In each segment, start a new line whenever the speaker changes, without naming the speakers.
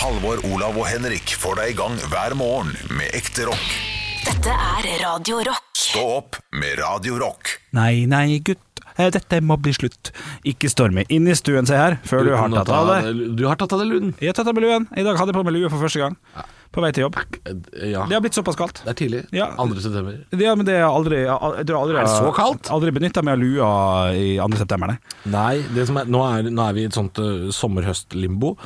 Halvor, Olav og Henrik får deg i gang hver morgen med ekte rock.
Dette er Radio Rock.
Stå opp med Radio Rock.
Nei, nei, gutt, eh, dette må bli slutt. Ikke storme inn i stuen, se her, før du har
Uten å
tatt av
ta
deg.
det- Du har tatt av deg luen.
Jeg har tatt av meg luen. I dag hadde jeg på meg lue for første gang. På vei til jobb.
Eh, Ja.
Det har blitt såpass kaldt.
Det er tidlig.
Ja.
2. september.
Ja, men det har jeg aldri, jeg har aldri
Er det så kaldt?
Aldri benytta meg av lua i 2. september, nei.
Nei, det som er, nå, er, nå er vi i et sånt uh, sommer-høst-limbo.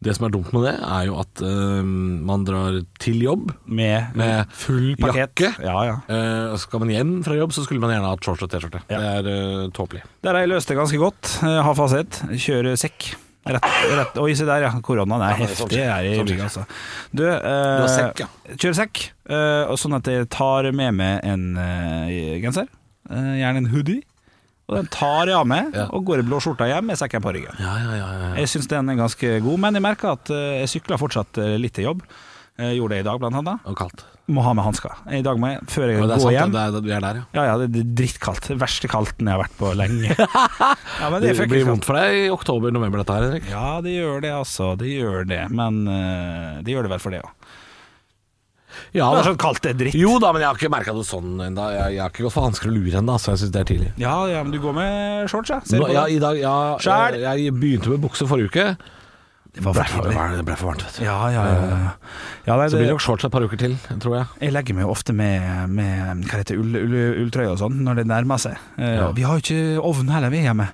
Det som er dumt med det, er jo at eh, man drar til jobb
Med,
med full
pakket.
jakke.
Ja, ja.
Eh, og skal man hjem fra jobb, så skulle man gjerne hatt shorts og T-skjorte. Det er eh, tåpelig.
Der har jeg løst det ganske godt. Jeg har fasit. Kjører sekk. Rett, rett. Oi, se der, ja. Koronaen er heftig her i bygget, altså. Du, eh,
sånn har sekk, ja.
kjører sekk, eh, og sånn at jeg tar med meg en eh, genser. Eh, gjerne en hoodie. Og den tar jeg av meg,
Ja.
og går i blå skjorta hjem med sekken på ryggen.
Ja, ja, ja, ja.
Jeg syns den er ganske god, men jeg merker at eh, jeg sykler fortsatt eh, litt til jobb. Jeg gjorde det i dag, blant annet.
Og kaldt.
Må ha med hansker. I dag må jeg, før jeg
Men det
går
er sant,
hjem
det er, vi er der, ja.
Ja ja, det er drittkaldt. Det verste kaldten jeg har vært på lenge. Ja, men
Det,
fuckings
blir
kaldt.
vondt for deg i oktober-november, dette her, Henrik.
Ja, det gjør det, altså. Det gjør det. Men eh, det gjør det vel for det òg.
Ja,
det
da.
er sånn kaldt det er dritt.
Jo da, men jeg har ikke merka det sånn ennå. Jeg, jeg har ikke gått for hansker og lue ennå, så jeg syns det er tidlig.
Ja, ja, men du går med shorts, ja. Ser
Nå,
på
ja,
det.
i dag, ja,
Skjæl!
jeg, jeg begynte med bukse forrige uke.
det var
Ble
for
for,
tidlig.
det ble for varmt, vet du.
Ja, ja, ja. ja. ja nei,
Så blir det
det,
nok shorts et par uker til, tror jeg.
jeg legger meg jo ofte med, med hva heter det, ull, ull, ulltrøye og sånn når det nærmer seg. Eh,
Ja.
Vi har jo ikke ovn heller, vi hjemme.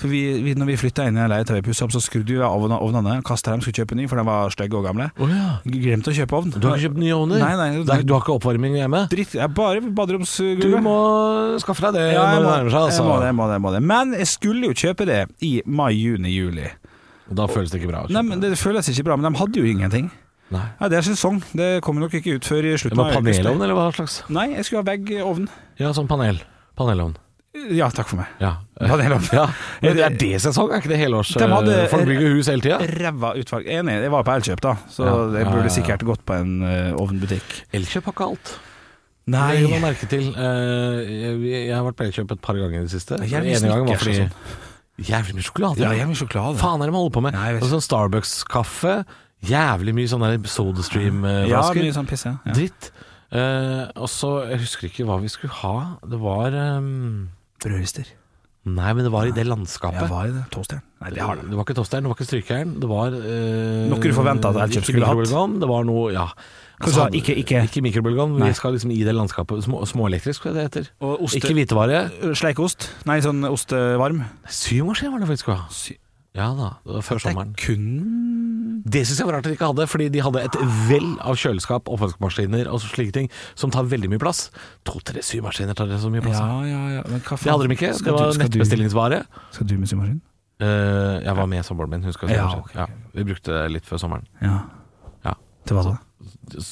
For vi, vi, når vi flytta inn i leiligheta vi pussa opp, så skrudde vi av ovna- ovnene, kasta dem, skulle kjøpe ny, for de var stygge og gamle. Glemte å kjøpe ovn.
Du har ikke kjøpt nye ovner?
Nei, nei,
Det er- du har ikke oppvarming hjemme?
Dritt, jeg er bare baderomsgulvet.
Du må skaffe deg det
Ja, jeg
når det
må,
nærmer
jeg
seg.
må det,
Altså.
jeg må det, jeg må det. Men jeg skulle jo kjøpe det i mai, juni, juli.
Da føles det ikke bra. å kjøpe.
Nei, men Det føles ikke bra, men de hadde jo ingenting.
Nei.
Ja, Det er sesong, det kommer nok ikke ut før i
Det
slutten
var
av august.
panelovn, eller hva slags?
Nei, jeg skulle ha veggovn.
Ja, sånn panel. Panelovn.
Ja, takk for meg.
Ja.
Panelovn.
ja.
Men
Men det er det sesong, er ikke det helårs?
De hadde-
Folk bygger hus hele tida.
Ræva utvalg. Enig, jeg var på Elkjøp, da, så
Ja,
jeg
ja,
burde
ja, ja.
sikkert gått på en eh, ovnbutikk.
Elkjøp har ikke alt. Det legger
Nei.
man merke til. Eh, Jeg jeg har vært på Elkjøp et par ganger i det siste. Den
Jævlig
ene gangen var
Snickers og
fordi Jævlig mye sjokolade.
Ja, sånn. jævlig sjokolade.
Faen er det man holder på med?
Nei, jeg vet
Og sånn Starbucks-kaffe. Jævlig mye sånn der
Ja,
SodaStream-flasker.
mye sånn piss, ja. ja.
Dritt. Eh, og så Jeg husker ikke hva vi skulle ha. Det var ehm,
Brødrister.
Nei, men det var i det
Ja,
landskapet.
hva er det? Toastjern? Nei, det har de.
Det var ikke tosteren, det var ikke strykeren. Det var eh,
Noe du forventet at Elkjøp skulle hatt.
mikrobølgeovn, Det var noe, ja. Altså,
Hva sa du? Ikke- ikke-
ikke mikrobølgeovn.
Nei.
Vi skal liksom i det landskapet. Små, småelektrisk, hva er det det heter.
Og oste-
Ikke hvitevare.
Sleikost? Nei, sånn ostevarm.
Syv år siden var det faktisk. hva?
Sy-
Ja da, det var før sommeren.
Kun
Det syns jeg var rart at de ikke hadde, fordi de hadde et vell av kjøleskap, oppvaskmaskiner og slike ting, som tar veldig mye plass. To-tre symaskiner tar det så mye plass.
Ja, ja, ja. Men hva faen?
Altså. Det hadde de ikke.
Skal
Det
du-
var
skal du-
nettbestillingsvare.
Skal du med symaskin?
Eh, jeg var med samboeren min, hun skal
Ja,
symaskin.
ok, ok.
ja, Vi brukte det litt før sommeren.
Ja.
Ja.
Til hva da?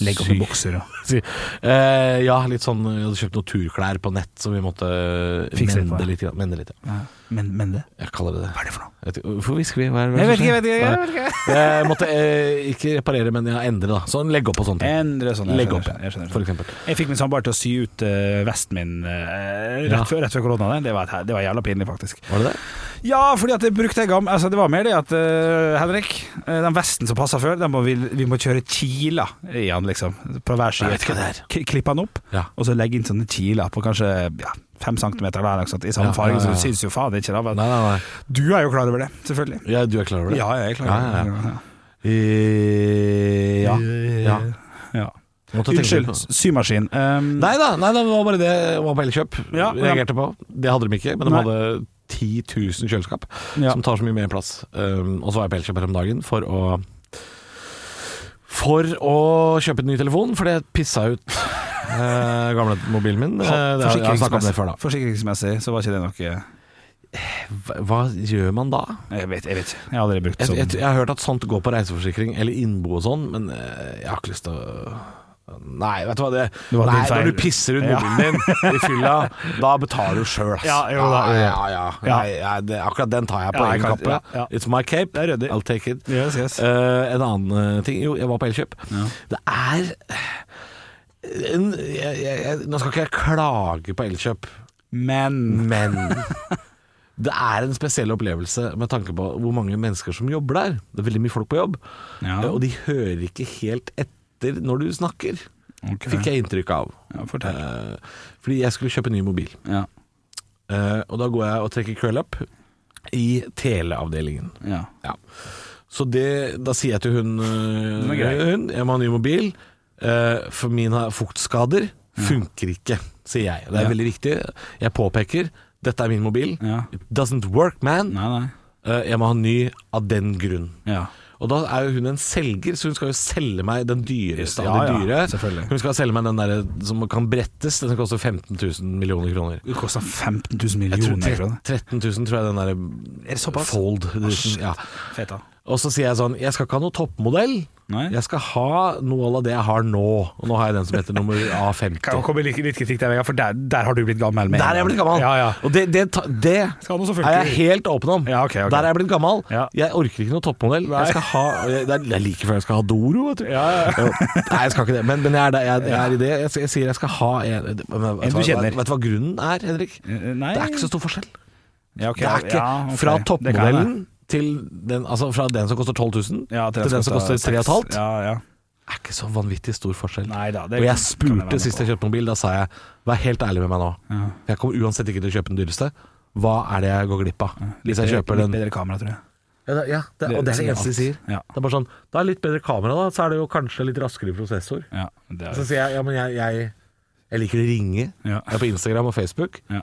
Legg opp i
Sykt.
bokser og
Si- Eh, ja, litt sånn Vi hadde kjøpt noen turklær på nett som vi måtte eh,
Fikse litt på,
mende
ja.
litt. grann- Mende litt ja.
men, men det?
Jeg kaller det det.
Hva er det for noe?
Jeg vet ikke- Hvorfor hvisker vi? Hva er
Jeg
det- hva er det
vet ikke,
som
jeg vet ikke.
skjer?
Jeg vet ikke.
Nei. Jeg måtte eh, ikke reparere, men ja, endre, da. Sånn legge opp og sånne ting.
Endre sånn.
Legge opp,
Jeg,
ja. For eksempel.
jeg fikk min samboer til å sy ut eh, vesten min eh, rett,
Ja.
før, rett før korona. Det. Det, var, et- det var jævla pinlig, faktisk.
Var det det?
Ja, fordi at jeg brukte en gammel altså, Det var mer det at eh, Henrik, eh, den vesten som passa før, den må vi, vi må kjøre kiler i han, liksom. På hver
Jeg
side.
vet ikke hva det er.
K- Klippe han opp,
Ja.
og så legge inn sånne kiler på kanskje ja, fem centimeter der, ikke sant? i samme
Ja,
farge.
ja, ja.
Så du syns jo faen ikke det. Men
Nei, nei, nei.
du er jo klar over det, selvfølgelig.
Ja, du er klar over det?
Ja, jeg er klar over
Ja,
det. Ja,
Eh, ja. ja.
ja.
Måtte tenke litt
Unnskyld,
på-
symaskin. Um,
Nei da, nei da, det var bare det det var på Elkjøp.
Ja, ja.
reagerte på. Det hadde de ikke, men de
Nei.
hadde 10 000 kjøleskap
Ja.
som tar så mye mer plass. Um, og så var jeg på Elkjøp her om dagen for å For å kjøpe en ny telefon, fordi jeg pissa ut eh, gamle mobilen min. Eh, det har- jeg har snakket om det før,
forsikringsmessig, forsikringsmessig så var ikke det noe
da. Hva gjør man da?
Jeg vet, jeg vet ikke. Jeg har aldri brukt
Jeg,
sånn.
jeg, jeg har hørt at sånt går på reiseforsikring eller innbo og sånn, men eh, jeg har ikke lyst til å Nei, vet du hva det
Det var din
Nei,
feil.
når du pisser ut mobilen din i fylla, da betaler du sjøl, ass.
Ja, jo da, jo da.
ja, ja, ja.
Ja.
Nei, jeg- det, akkurat den tar jeg
Ja,
på
jeg
egen
kan-
kappe.
ja, ja.
It's my cape.
Det er ryddig.
I'll take it.
Yes, yes.
Eh, en annen eh, ting Jo, jeg var på Elkjøp. Det er eh, en, jeg, jeg, jeg, Nå skal ikke jeg klage på Elkjøp,
Men
men Det er en spesiell opplevelse med tanke på hvor mange mennesker som jobber der. Det er veldig mye folk på jobb, Eh,
Ja.
og de hører ikke helt etter når du snakker.
Ok.
Fikk jeg inntrykk av.
Ja, fortell.
Eh, fordi jeg skulle kjøpe ny mobil.
Ja.
Eh, og da går jeg og trekker curl up i teleavdelingen.
ja.
Ja. Så det, da sier jeg til hun, øh,
Den er grei.
hun Jeg må ha ny mobil, øh, for min har fuktskader. Funker ikke, sier jeg. Det er
Ja.
veldig viktig. Jeg påpeker dette er min mobil.
Ja.
It doesn't work, man.
Nei, nei.
Eh, jeg må ha ny av den grunn.
Ja.
Og da er jo hun en selger, så hun skal jo selge meg den dyreste av
Ja,
de
ja,
dyre.
selvfølgelig.
Hun skal selge meg den der eh, som kan brettes. Den koster 15 000 millioner kroner.
Det kosta 15 000
Jeg tror
millioner
tre-
kroner.
13 000, tror jeg den der
Er det såpass?
Fold.
shit.
Ja.
Feta.
Og så sier jeg sånn Jeg skal ikke ha noe toppmodell.
Nei.
Jeg skal ha noe av det jeg har nå. Og nå har jeg den som heter nummer
Kan jo
A50.
komme litt, litt kritikk der, Vegard, for der, der har du blitt gammel. med en
Der er jeg
gang.
blitt gammel.
Ja, ja.
Og det, det, ta- det
Skal ha noe som
er jeg
funker.
helt åpen om.
Ja, ok, ok.
Der er jeg blitt gammel.
Ja.
Jeg orker ikke noe toppmodell.
Nei.
Jeg skal ha jeg, Det er det er like før jeg skal ha Doro. Jeg tror.
Ja, ja.
Jo, Nei, jeg skal ikke det. Men, men jeg, er der, jeg, jeg er i det. Jeg, jeg sier jeg skal ha en Vet du hva-
En du kjenner.
Vet du hva grunnen er, Henrik?
Eh, Nei
Det er ikke så stor forskjell.
Ja, ok.
Det er ikke
Ja, ok.
Fra
Det kan
toppmodellen
jeg.
til den, altså fra den som koster 12 000
Ja,
til den som koster
seks.
3,5
Ja, ja.
er ikke så vanvittig stor forskjell.
Nei da, det kan
og jeg
jeg være med
spurte sist jeg kjøpte mobil, da sa jeg vær helt ærlig med meg nå.
Ja.
For Jeg kommer uansett ikke til å kjøpe den dyreste. Hva er det jeg går glipp av hvis jeg kjøper
litt
den?
bedre kamera, tror jeg.
Ja, det- ja, det, og det er det eneste de sier.
Ja.
Det er bare sånn Det er litt bedre kamera, da, så er det jo kanskje litt raskere prosessor.
Ja, det er,
Så sier jeg ja, men jeg, jeg, jeg liker å ringe.
Ja.
Jeg er på Instagram og Facebook.
ja.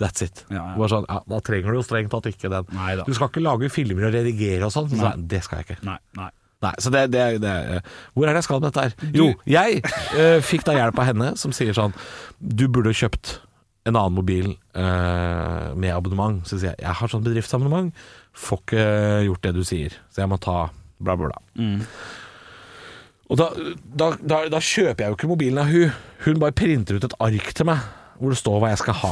That's it.
Ja, ja.
Bare sånn, ja, da trenger du jo strengt tatt ikke den.
Neida.
Du skal ikke lage filmer og redigere og sånn. Så sa jeg, det skal jeg ikke.
Nei, nei.
Nei, så det, det, det Hvor er det jeg skal med dette her? Jo, jeg eh, fikk da hjelp av henne som sier sånn Du burde kjøpt en annen mobil eh, med abonnement. Så sier jeg jeg har sånn bedriftsabonnement, får ikke gjort det du sier. Så jeg må ta bla, bla, bla. Og da, da, da, da kjøper jeg jo ikke mobilen av hun. Hun bare printer ut et ark til meg hvor det står hva jeg skal ha.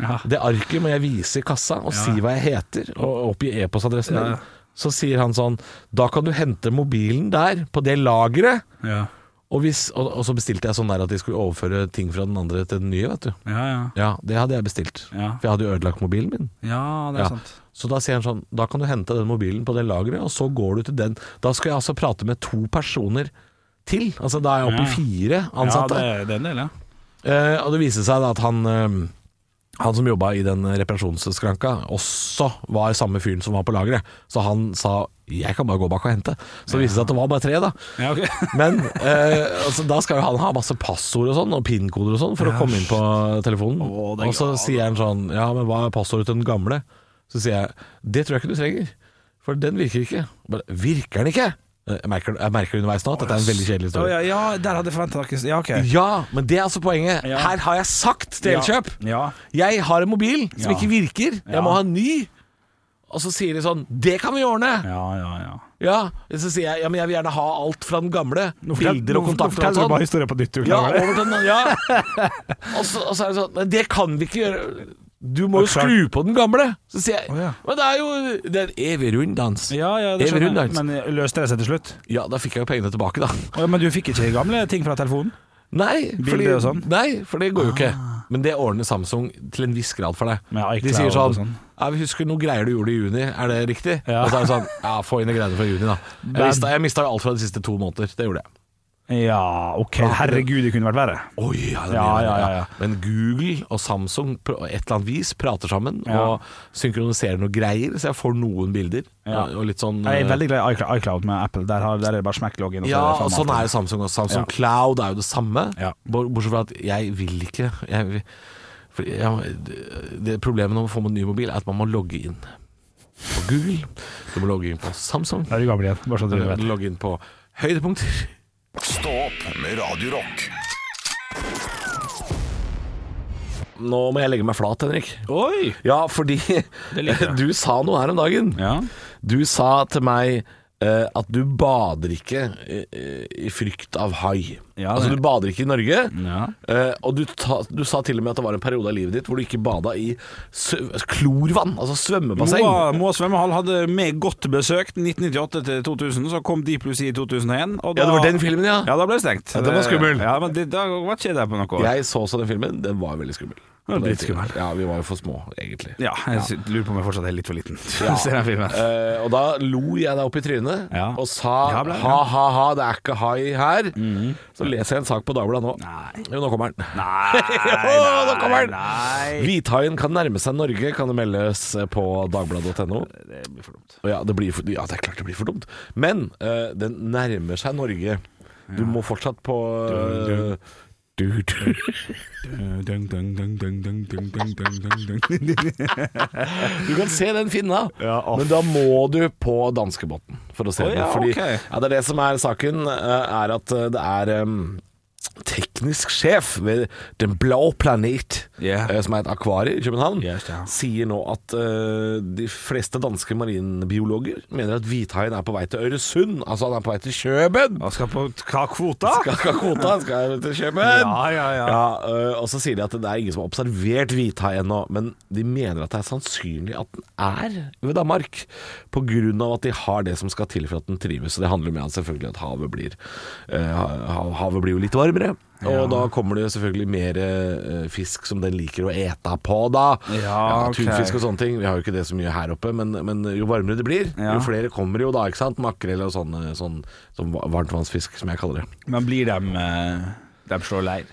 Ja.
Det arket må jeg vise i kassa og si hva jeg heter, og oppgi e-postadressen
Ja.
min. Så sier han sånn Da kan du hente mobilen der, på det lageret.
Ja.
Og, hvis, og, og så bestilte jeg sånn der at de skulle overføre ting fra den andre til den nye, vet du.
Ja, ja.
Ja, det hadde jeg bestilt.
Ja.
For jeg hadde jo ødelagt mobilen min.
ja, det er
Ja.
sant.
Så da sier han sånn Da kan du hente den mobilen på det lageret, og så går du til den. Da skal jeg altså prate med to personer til. Altså da er jeg oppe i fire ansatte.
Ja, det, det er en del, ja.
Eh, og det viste seg da at han eh, Han som jobba i den reparasjonsskranka, også var samme fyren som var på lageret. Så han sa 'jeg kan bare gå bak og hente'. Så det viste seg at det var bare tre, da.
Ja, ok.
Men eh, altså, da skal jo han ha masse passord og sånn, og PIN-koder og sånn, for å komme inn på telefonen.
Å, det er
og så
glad,
sier han sånn 'ja, men hva er passordet til den gamle'? Så sier jeg 'det tror jeg ikke du trenger', for den virker ikke. Bare, virker den ikke? Eh, Jeg merker, jeg merker underveis nå at dette er en veldig kjedelig
Å,
historie.
ja, ja, der hadde jeg forventa noe. Ja, ok.
Ja, men det er altså poenget.
Ja.
Her har jeg sagt til Elkjøp.
Ja.
Jeg har en mobil som
Ja.
ikke virker.
Ja.
Jeg må ha en ny. Og så sier de sånn Det kan vi ordne!
Ja, ja, ja.
Ja. Så sier jeg ja, men jeg vil gjerne ha alt fra den gamle. Bilder og kontakter og
bare
sånn.
historien på nytt, du
Ja,
klarer det.
over til den, ja. og, så, og så er det sånn Men det kan vi ikke gjøre. Du må jo
Klart.
skru på den gamle. Så sier jeg
Å, ja.
Men det er jo Det er en evig runddans.
Ja, ja, det
Evig
skjønner jeg.
runddans.
Men løste det seg til slutt?
Ja, da fikk jeg jo pengene tilbake, da.
Å, ja, Men du fikk ikke gamle ting fra telefonen?
Nei,
Bilder
fordi,
og sånn? Ah.
nei, for det går jo ikke. Men det ordner Samsung til en viss grad for deg.
Med iCloud
De sier
og
sånn,
sånn.
Ja, 'Vi husker noen greier du gjorde i juni, er det riktig?'
Ja.
Og så er det sånn 'Ja, få inn de greiene fra juni, da'. Jeg
Men-
mista, jeg mista jo alt fra de siste to måneder. Det gjorde jeg.
Ja, ok. Herregud, det kunne vært verre.
Oi, ja, det er
Ja,
mye,
ja, ja, ja.
Men Google og Samsung på et eller annet vis prater sammen
Ja.
og synkroniserer noen greier, så jeg får noen bilder.
Ja.
Og litt sånn
Jeg er veldig glad i iCloud- iCloud med Apple. Der, har, der er Altså, det bare smekk login.
Ja,
så
og
det
sånn
fremme
er
alt.
jo Samsung også. Samsung
Ja.
Cloud er jo det samme,
Ja.
Bor- bortsett fra at jeg vil ikke jeg, vil- fordi jeg, det- det Problemet når man får med en ny mobil, er at man må logge inn på Google. Du må logge inn på Samsung.
Da er du gammel igjen, bare så
Du
du
må
vet.
logge inn på høydepunkter.
Stå opp med Radio Rock.
Nå må jeg legge meg flat, Henrik.
Oi!
Ja, fordi
liker jeg.
du sa noe her om dagen.
Ja.
Du sa til meg eh, at du bader ikke eh, eh, i frykt av hai.
Ja,
altså,
det-
du bader ikke i Norge.
Ja.
Eh, og du, ta, du sa til og med at det var en periode av livet ditt hvor du ikke bada i sø- klorvann, altså svømmebasseng.
Moa, Moa svømmehall hadde med godt besøkt 1998 til 2000, så kom de plutselig i 2001. Og da,
Ja, det var den filmen, ja.
Ja, da ble det stengt.
Ja, den var skummel.
Ja, men det, da var ikke jeg der på noe.
Jeg så også den filmen, den var veldig skummel.
var
på den
dritskummel.
tiden. Ja, vi var jo for små, egentlig.
Ja, jeg sy- lurer på om jeg fortsatt er litt for liten.
Ja.
Ser jeg filmen.
Eh, og da lo jeg deg opp i trynet
Ja.
og sa
Ja, ble det.
ha, ha, ha, det er ikke hai her. Så leser jeg en sak på Dagbladet nå.
Nei.
Jo, nå kommer den.
Nei,
jo, nå kommer den!
nei.
Hvithaien kan nærme seg Norge, kan det meldes på dagbladet.no.
Eh, Det blir for dumt.
Og Ja, det blir for, ja, det er klart det blir for dumt. Men eh, den nærmer seg Norge. Du må fortsatt på eh, du, du.
Eh,
Du kan se den finna,
Ja, aff.
men da må du på danskebåten for å se
Å,
den.
ja,
Fordi
ok.
ja, det er det som er saken, eh, er at eh, det er em, teknisk sjef ved Den blå planet,
Ja.
eh, som er et akvarie i København,
Yes, ja.
sier nå at eh, de fleste danske marinbiologer mener at hvithaien er på vei til Øresund, altså han er på vei til Kjøben.
Han skal på hva kvota?
Skal ikke ha kvota, han skal til Kjøben.
Ja, ja, ja.
eh, og så sier de at det er ingen som har observert hvithai ennå, men de mener at det er sannsynlig at den er ved Danmark, på grunn av at de har det som skal til for at den trives. Og det handler jo med at selvfølgelig at havet blir eh, ha- Havet blir jo litt varmere. Og da kommer det jo selvfølgelig mer eh, fisk som den liker å ete på, da.
Ja, ok.
Tunfisk og sånne ting. Vi har jo ikke det så mye her oppe, men, men jo varmere det blir,
Ja.
jo flere kommer jo da, ikke sant. Makrell og sånn, eh, sånn, sånn varmtvannsfisk, som jeg kaller det.
Men blir dem eh, dem slår leir?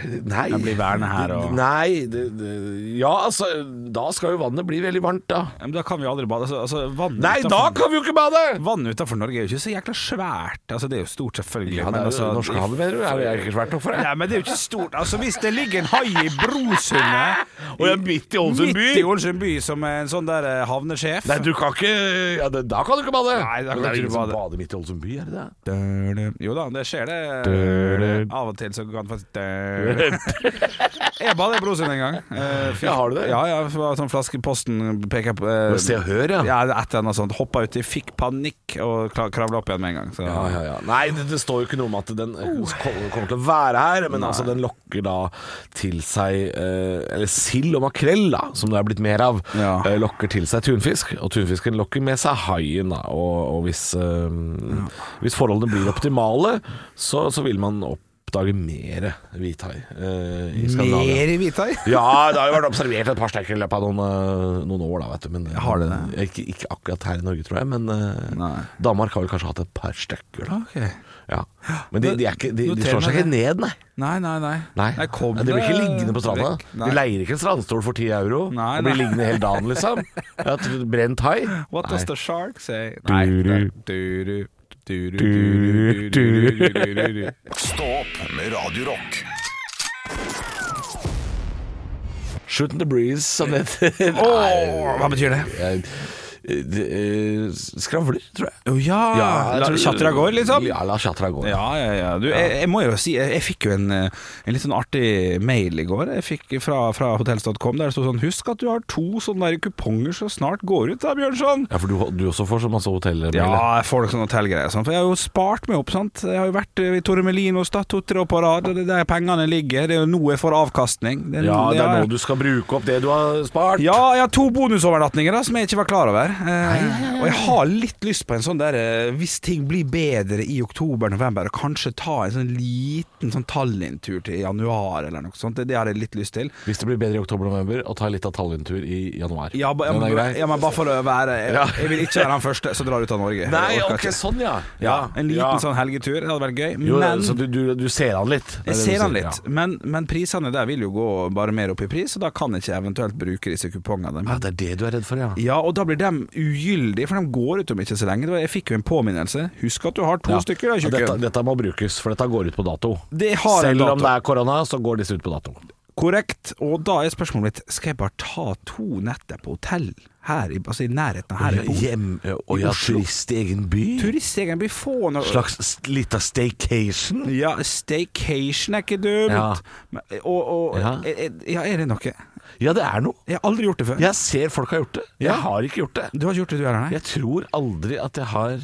Nei.
Det blir værende her og-
Nei, det, det, ja altså Da skal jo vannet bli veldig varmt, da.
Ja, Men da kan vi aldri bade. Altså, altså, vann
Nei, da
utenfor-
kan vi jo ikke bade!
Vann utenfor Norge er jo ikke så jækla svært. Altså, det er jo stort, selvfølgelig.
Ja, det er jo Norskehavet, mener du? Er det ikke svært nok for det?
Nei, men det er jo ikke stort. Altså, Hvis det ligger en hai i Brosundet
Og det er midt i Ålesund by.
Midt i Ålesund by som er en sånn der eh, havnesjef.
Nei, du kan ikke ja, det, Da kan du ikke bade!
Nei, da kan du
Men det er
ikke
ingen som
bade.
bader midt i Ålesund by, er det det?
Døle. Jo da, det skjer det.
Døle.
Av og til så kan det faktisk Døle. Jeg badet i Brosund en gang. Eh, fikk-
Ja, har du det?
Ja, ja. for det var Sånn flaske i posten peker på eh,
Bare Se og hør, ja.
Ja, et eller annet sånt. Hoppa uti, fikk panikk og kla- kravla opp igjen med en gang. Så.
Ja, ja, ja. Nei, det, det står jo ikke noe om at den eh, kom- kommer til å være her, men altså den lokker da til seg eh, Eller sild og makrell, da, som det er blitt mer av,
Ja.
eh, lokker til seg tunfisk. Og tunfisken lokker med seg haien, da. Og, og hvis, eh, hvis forholdene blir optimale, så, så vil man oppdage mer hvithai eh, i Skandinavia.
i hvithai?
Ja, det har jo vært observert et par stykker i løpet av noen, eh, noen år, da, vet du. Men,
Har det det?
Ikke, ikke akkurat her i Norge, tror jeg, men eh,
Nei.
Danmark har vel kanskje hatt et par stykker, da.
Ok.
Ja. Men de, de, er ikke, de, de
Noter
slår seg
meg
ikke ned, nei.
Nei, nei, nei.
nei.
kom
de blir ikke
det
liggende på stranda.
vekk. Nei.
De leier ikke en strandstol for 10 euro.
Nei,
De blir
nei.
liggende hele dagen, liksom. Ja, t- Brent hai.
What
Nei.
does the shark say?
Duru.
det er duru, duru,
Duru,
duru, duru,
duru.
duru, duru.
Stå opp med Radio Rock.
Shooting the breeze, som det heter.
Åh, hva betyr det?
Jeg- det, eh, Skravler, tror jeg.
Å ja!
jeg
Ah, La-
tror-
Tjatra går, liksom?
Ja, la tjatra gå.
Ja, ja, ja. Du, jeg, jeg må jo si, jeg, jeg fikk jo en, eh, en litt sånn artig mail i går. Jeg fikk fra, fra hotels.com der det sto sånn Husk at du har to sånne der kuponger som snart går ut, da, Bjørnson.
Ja, for du, du også får så masse hotellmailer.
Ja, jeg får noen sånne hotellgreier. og sånn, For jeg har jo spart meg opp. sant? Jeg har jo vært eh, i Torremolino og Stad to-tre år på rad. og Det er der pengene ligger. Det er jo nå jeg får avkastning. Det
Ja,
nå-
det er nå du skal bruke opp det du har spart.
Ja, jeg har to bonusovernatninger da, som jeg ikke var klar over. Eh, Og jeg har litt lyst på en sånn der eh, Hvis ting blir bedre i oktober-november, og kanskje ta en sånn liten sånn Tallinn-tur til januar eller noe sånt. Det, det har jeg litt lyst til.
Hvis det blir bedre i oktober-november, og ta litt av Tallinn-tur i januar.
Ja, ba, ja,
Den er
men-
grei.
ja, men bare for å være jeg,
Ja.
jeg vil ikke være han første som drar ut av Norge.
Nei,
Jeg orker
ok,
ikke.
sånn ja.
ja, En liten sånn helgetur det hadde vært gøy.
Jo,
men
så du, du, du ser han litt?
jeg
Det er det du
ser han
sier,
litt, men, men prisene der vil jo gå bare mer opp i pris, og da kan jeg ikke eventuelt bruke disse kupongene.
Ja. ja, det er det du er redd for, ja.
Ja, og da blir de ugyldige, for de går ut om ikke så lenge. Det var- Jeg fikk jo en påminnelse. Husk at du har to
ja.
stykker, da,
Ja, dette,
tjukken.
dette må brukes, for dette går ut på dato.
Det har en
Selv
dato.
om det er korona, så går disse ut på dato.
Korrekt. Og da er spørsmålet mitt Skal jeg bare ta to netter på hotell her, i- altså i nærheten av her jeg bor?
og
I Oslo.
turist i egen by?
Turistjegeren blir få noe
Slags s- lita staycation?
Ja, staycation er ikke dumt.
Ja.
Men- Og, og
Ja.
eh, eh, ja, er det noe? Jeg
Ja, det er noe.
har aldri gjort det før.
Jeg ser folk har gjort det. Jeg har ikke gjort det.
Du har ikke gjort det du heller, nei?
Jeg tror aldri at jeg har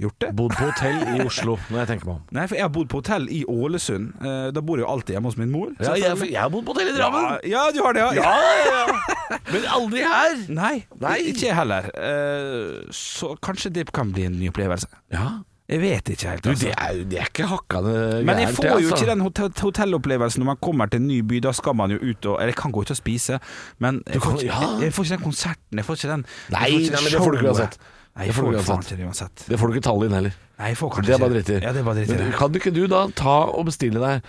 Gjort det?
bodd på hotell i Oslo, når jeg tenker meg om.
Nei, for jeg har bodd på hotell i Ålesund. Eh, Da bor jeg jo alltid hjemme hos min mor.
Ja, jeg, jeg har bodd på hotell i Drammen!
Ja, ja, du har det, ja.
ja, ja. Men aldri her!
Nei,
Nei.
ikke jeg heller. Eh, så kanskje det kan bli en ny opplevelse.
Ja,
Jeg vet ikke helt.
Du,
altså.
det er, det er ikke hakkende
Men jeg
gærent,
får
det,
jo
altså.
ikke den hotell hotellopplevelsen når man kommer til en ny by. Da skal man jo ut og Eller jeg kan gå ut og spise, men jeg får,
kan-
ikke,
ja.
jeg får ikke den konserten. Jeg får ikke den
Nei,
jeg
nei, men det får du ikke
showet.
uansett.
Nei,
Det
jeg
får du
får jo
ikke
faen
uansett.
ikke det uansett.
Det får du ikke tall inn heller.
Nei, jeg får kanskje
Det er bare
ikke
dritt i.
Ja, det er bare dritt i
Men
det.
Kan ikke du da ta og bestille deg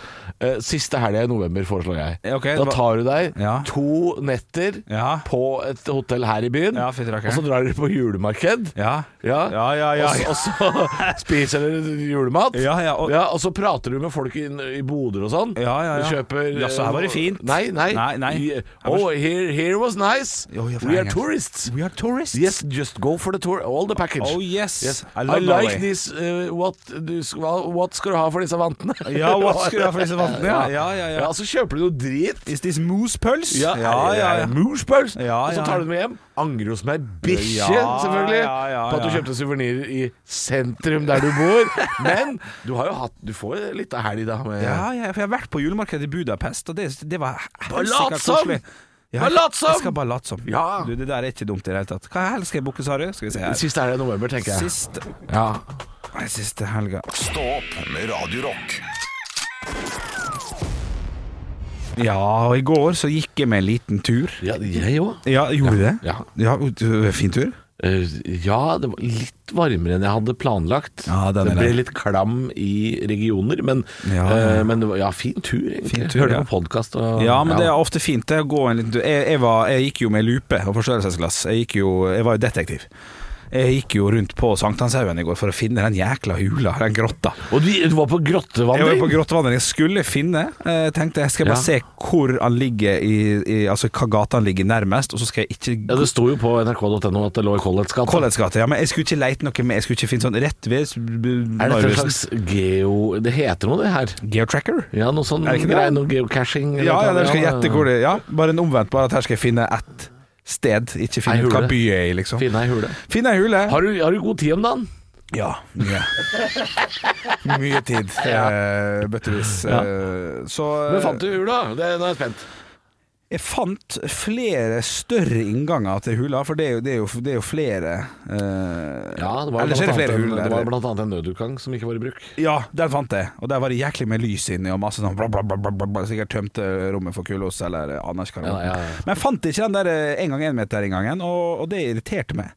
eh, siste helga i november, foreslår jeg.
Ja, ok,
da
hva-
tar du deg
Ja.
to netter
Ja.
på et hotell her i byen,
Ja, fy rakker.
og så drar dere på julemarked.
Ja. Ja, ja, ja, ja.
Og, så, og så spiser dere julemat.
Ja, ja, og-
og, så prater du med folk i, i boder og sånn.
Ja, ja, ja.
Du kjøper eh,
Ja, så her var det fint.
Nei, nei.
Nei, nei.
I- Oh, here, here was nice.
Jo, ja, for en
We are
gang.
tourists.
We are tourists.
Yes, just go for the tour. All the package.
Oh, yes.
I,
I love
like
Norway.
this. eh, what, du, sk- hva- what skal du ha for disse vantene?
Ja, what skal du ha for disse vantene? Ja, ja, ja, ja.
ja Så kjøper du noe drit.
Is this moose-pøls?
Moosepølse.
Ja,
Og så
ja.
tar du den med hjem. Angrer hos meg bikkje,
Ja,
selvfølgelig,
ja, ja,
på at du
ja.
kjøpte suvenirer i sentrum der du bor. Men du har jo hatt Du får jo litt av helg, da. Med,
Ja, ja, for jeg har vært på julemarkedet i Budapest, og det, det var helsike
Bare lat som!
koselig. Ja,
Bare lat som!
Jeg skal bare late som.
Ja.
Du, det der er ikke dumt i det hele tatt. Hva helst skal jeg booke, sa du? Skal vi se her.
Siste helg i november, tenker jeg.
Siste,
Ja.
nei, siste helga.
Stå opp med Radio Rock.
Ja, og i går så gikk jeg med en liten tur.
Ja, jeg òg.
Ja, gjorde du det?
Ja.
Ja, du- fin tur?
Eh, ja, det var litt varmere enn jeg hadde planlagt.
Ja, den er
det ble
der.
litt klam i regioner, men,
Ja,
eh,
ja.
men det var, ja, fin tur. egentlig.
Fin tur,
Hørte
ja.
på podkast og
Ja, men det er ofte fint det å gå en liten tur. Jeg, jeg, var, jeg gikk jo med lupe og forstørrelsesglass. Jeg, gikk jo, jeg var jo detektiv. Jeg gikk jo rundt på Sankthanshaugen i går for å finne den jækla hula, den grotta.
Og du, du var på
Jeg var
grottevandring?
jo på grottevandring. Jeg skulle finne eh, Tenkte jeg skal bare
Ja.
se hvor han ligger i, i Altså hva gata han ligger nærmest, og så skal jeg ikke
Ja, Det sto jo på nrk.no at det lå i Colletts gate.
Colletts gate, ja, men jeg skulle ikke leite noe mer. Jeg skulle ikke finne sånn rett ved
Er dette en
Narvesen.
slags geo... Det heter noe, det her.
Geotracker?
Ja, noe sånn
Er det ikke det?
greier, noe geocaching. eller
Ja, ja,
noe
dere skal
sånt,
gjette hvor det Ja, bare en omvendt, bare at her skal jeg finne ett sted. Ikke finne
Ei
ut hva
hule.
by jeg er i, liksom.
Finne ei hule.
Finn ei hule.
Har du, har du god tid om dagen?
Ja, mye. mye tid, eh, bøttevis. Eh, så
Men fant du hula? Det, nå er jeg spent.
jeg fant flere større innganger til hula, for det er jo, det er jo, det er jo flere eh,
Ja, det var,
Ellers er
blant
det flere
annet, en,
huler.
det
eller?
var blant annet en nødutgang som ikke var i bruk.
Ja, den fant jeg. Og der var det jæklig med lys inni og masse sånn bla, bla, bla, bla, bla, bla. Sikkert tømte rommet for kulos eller Anders Karl.
Ja, ja, ja.
Men jeg fant ikke den der eh, en gang en meter-inngangen, og, og det irriterte meg.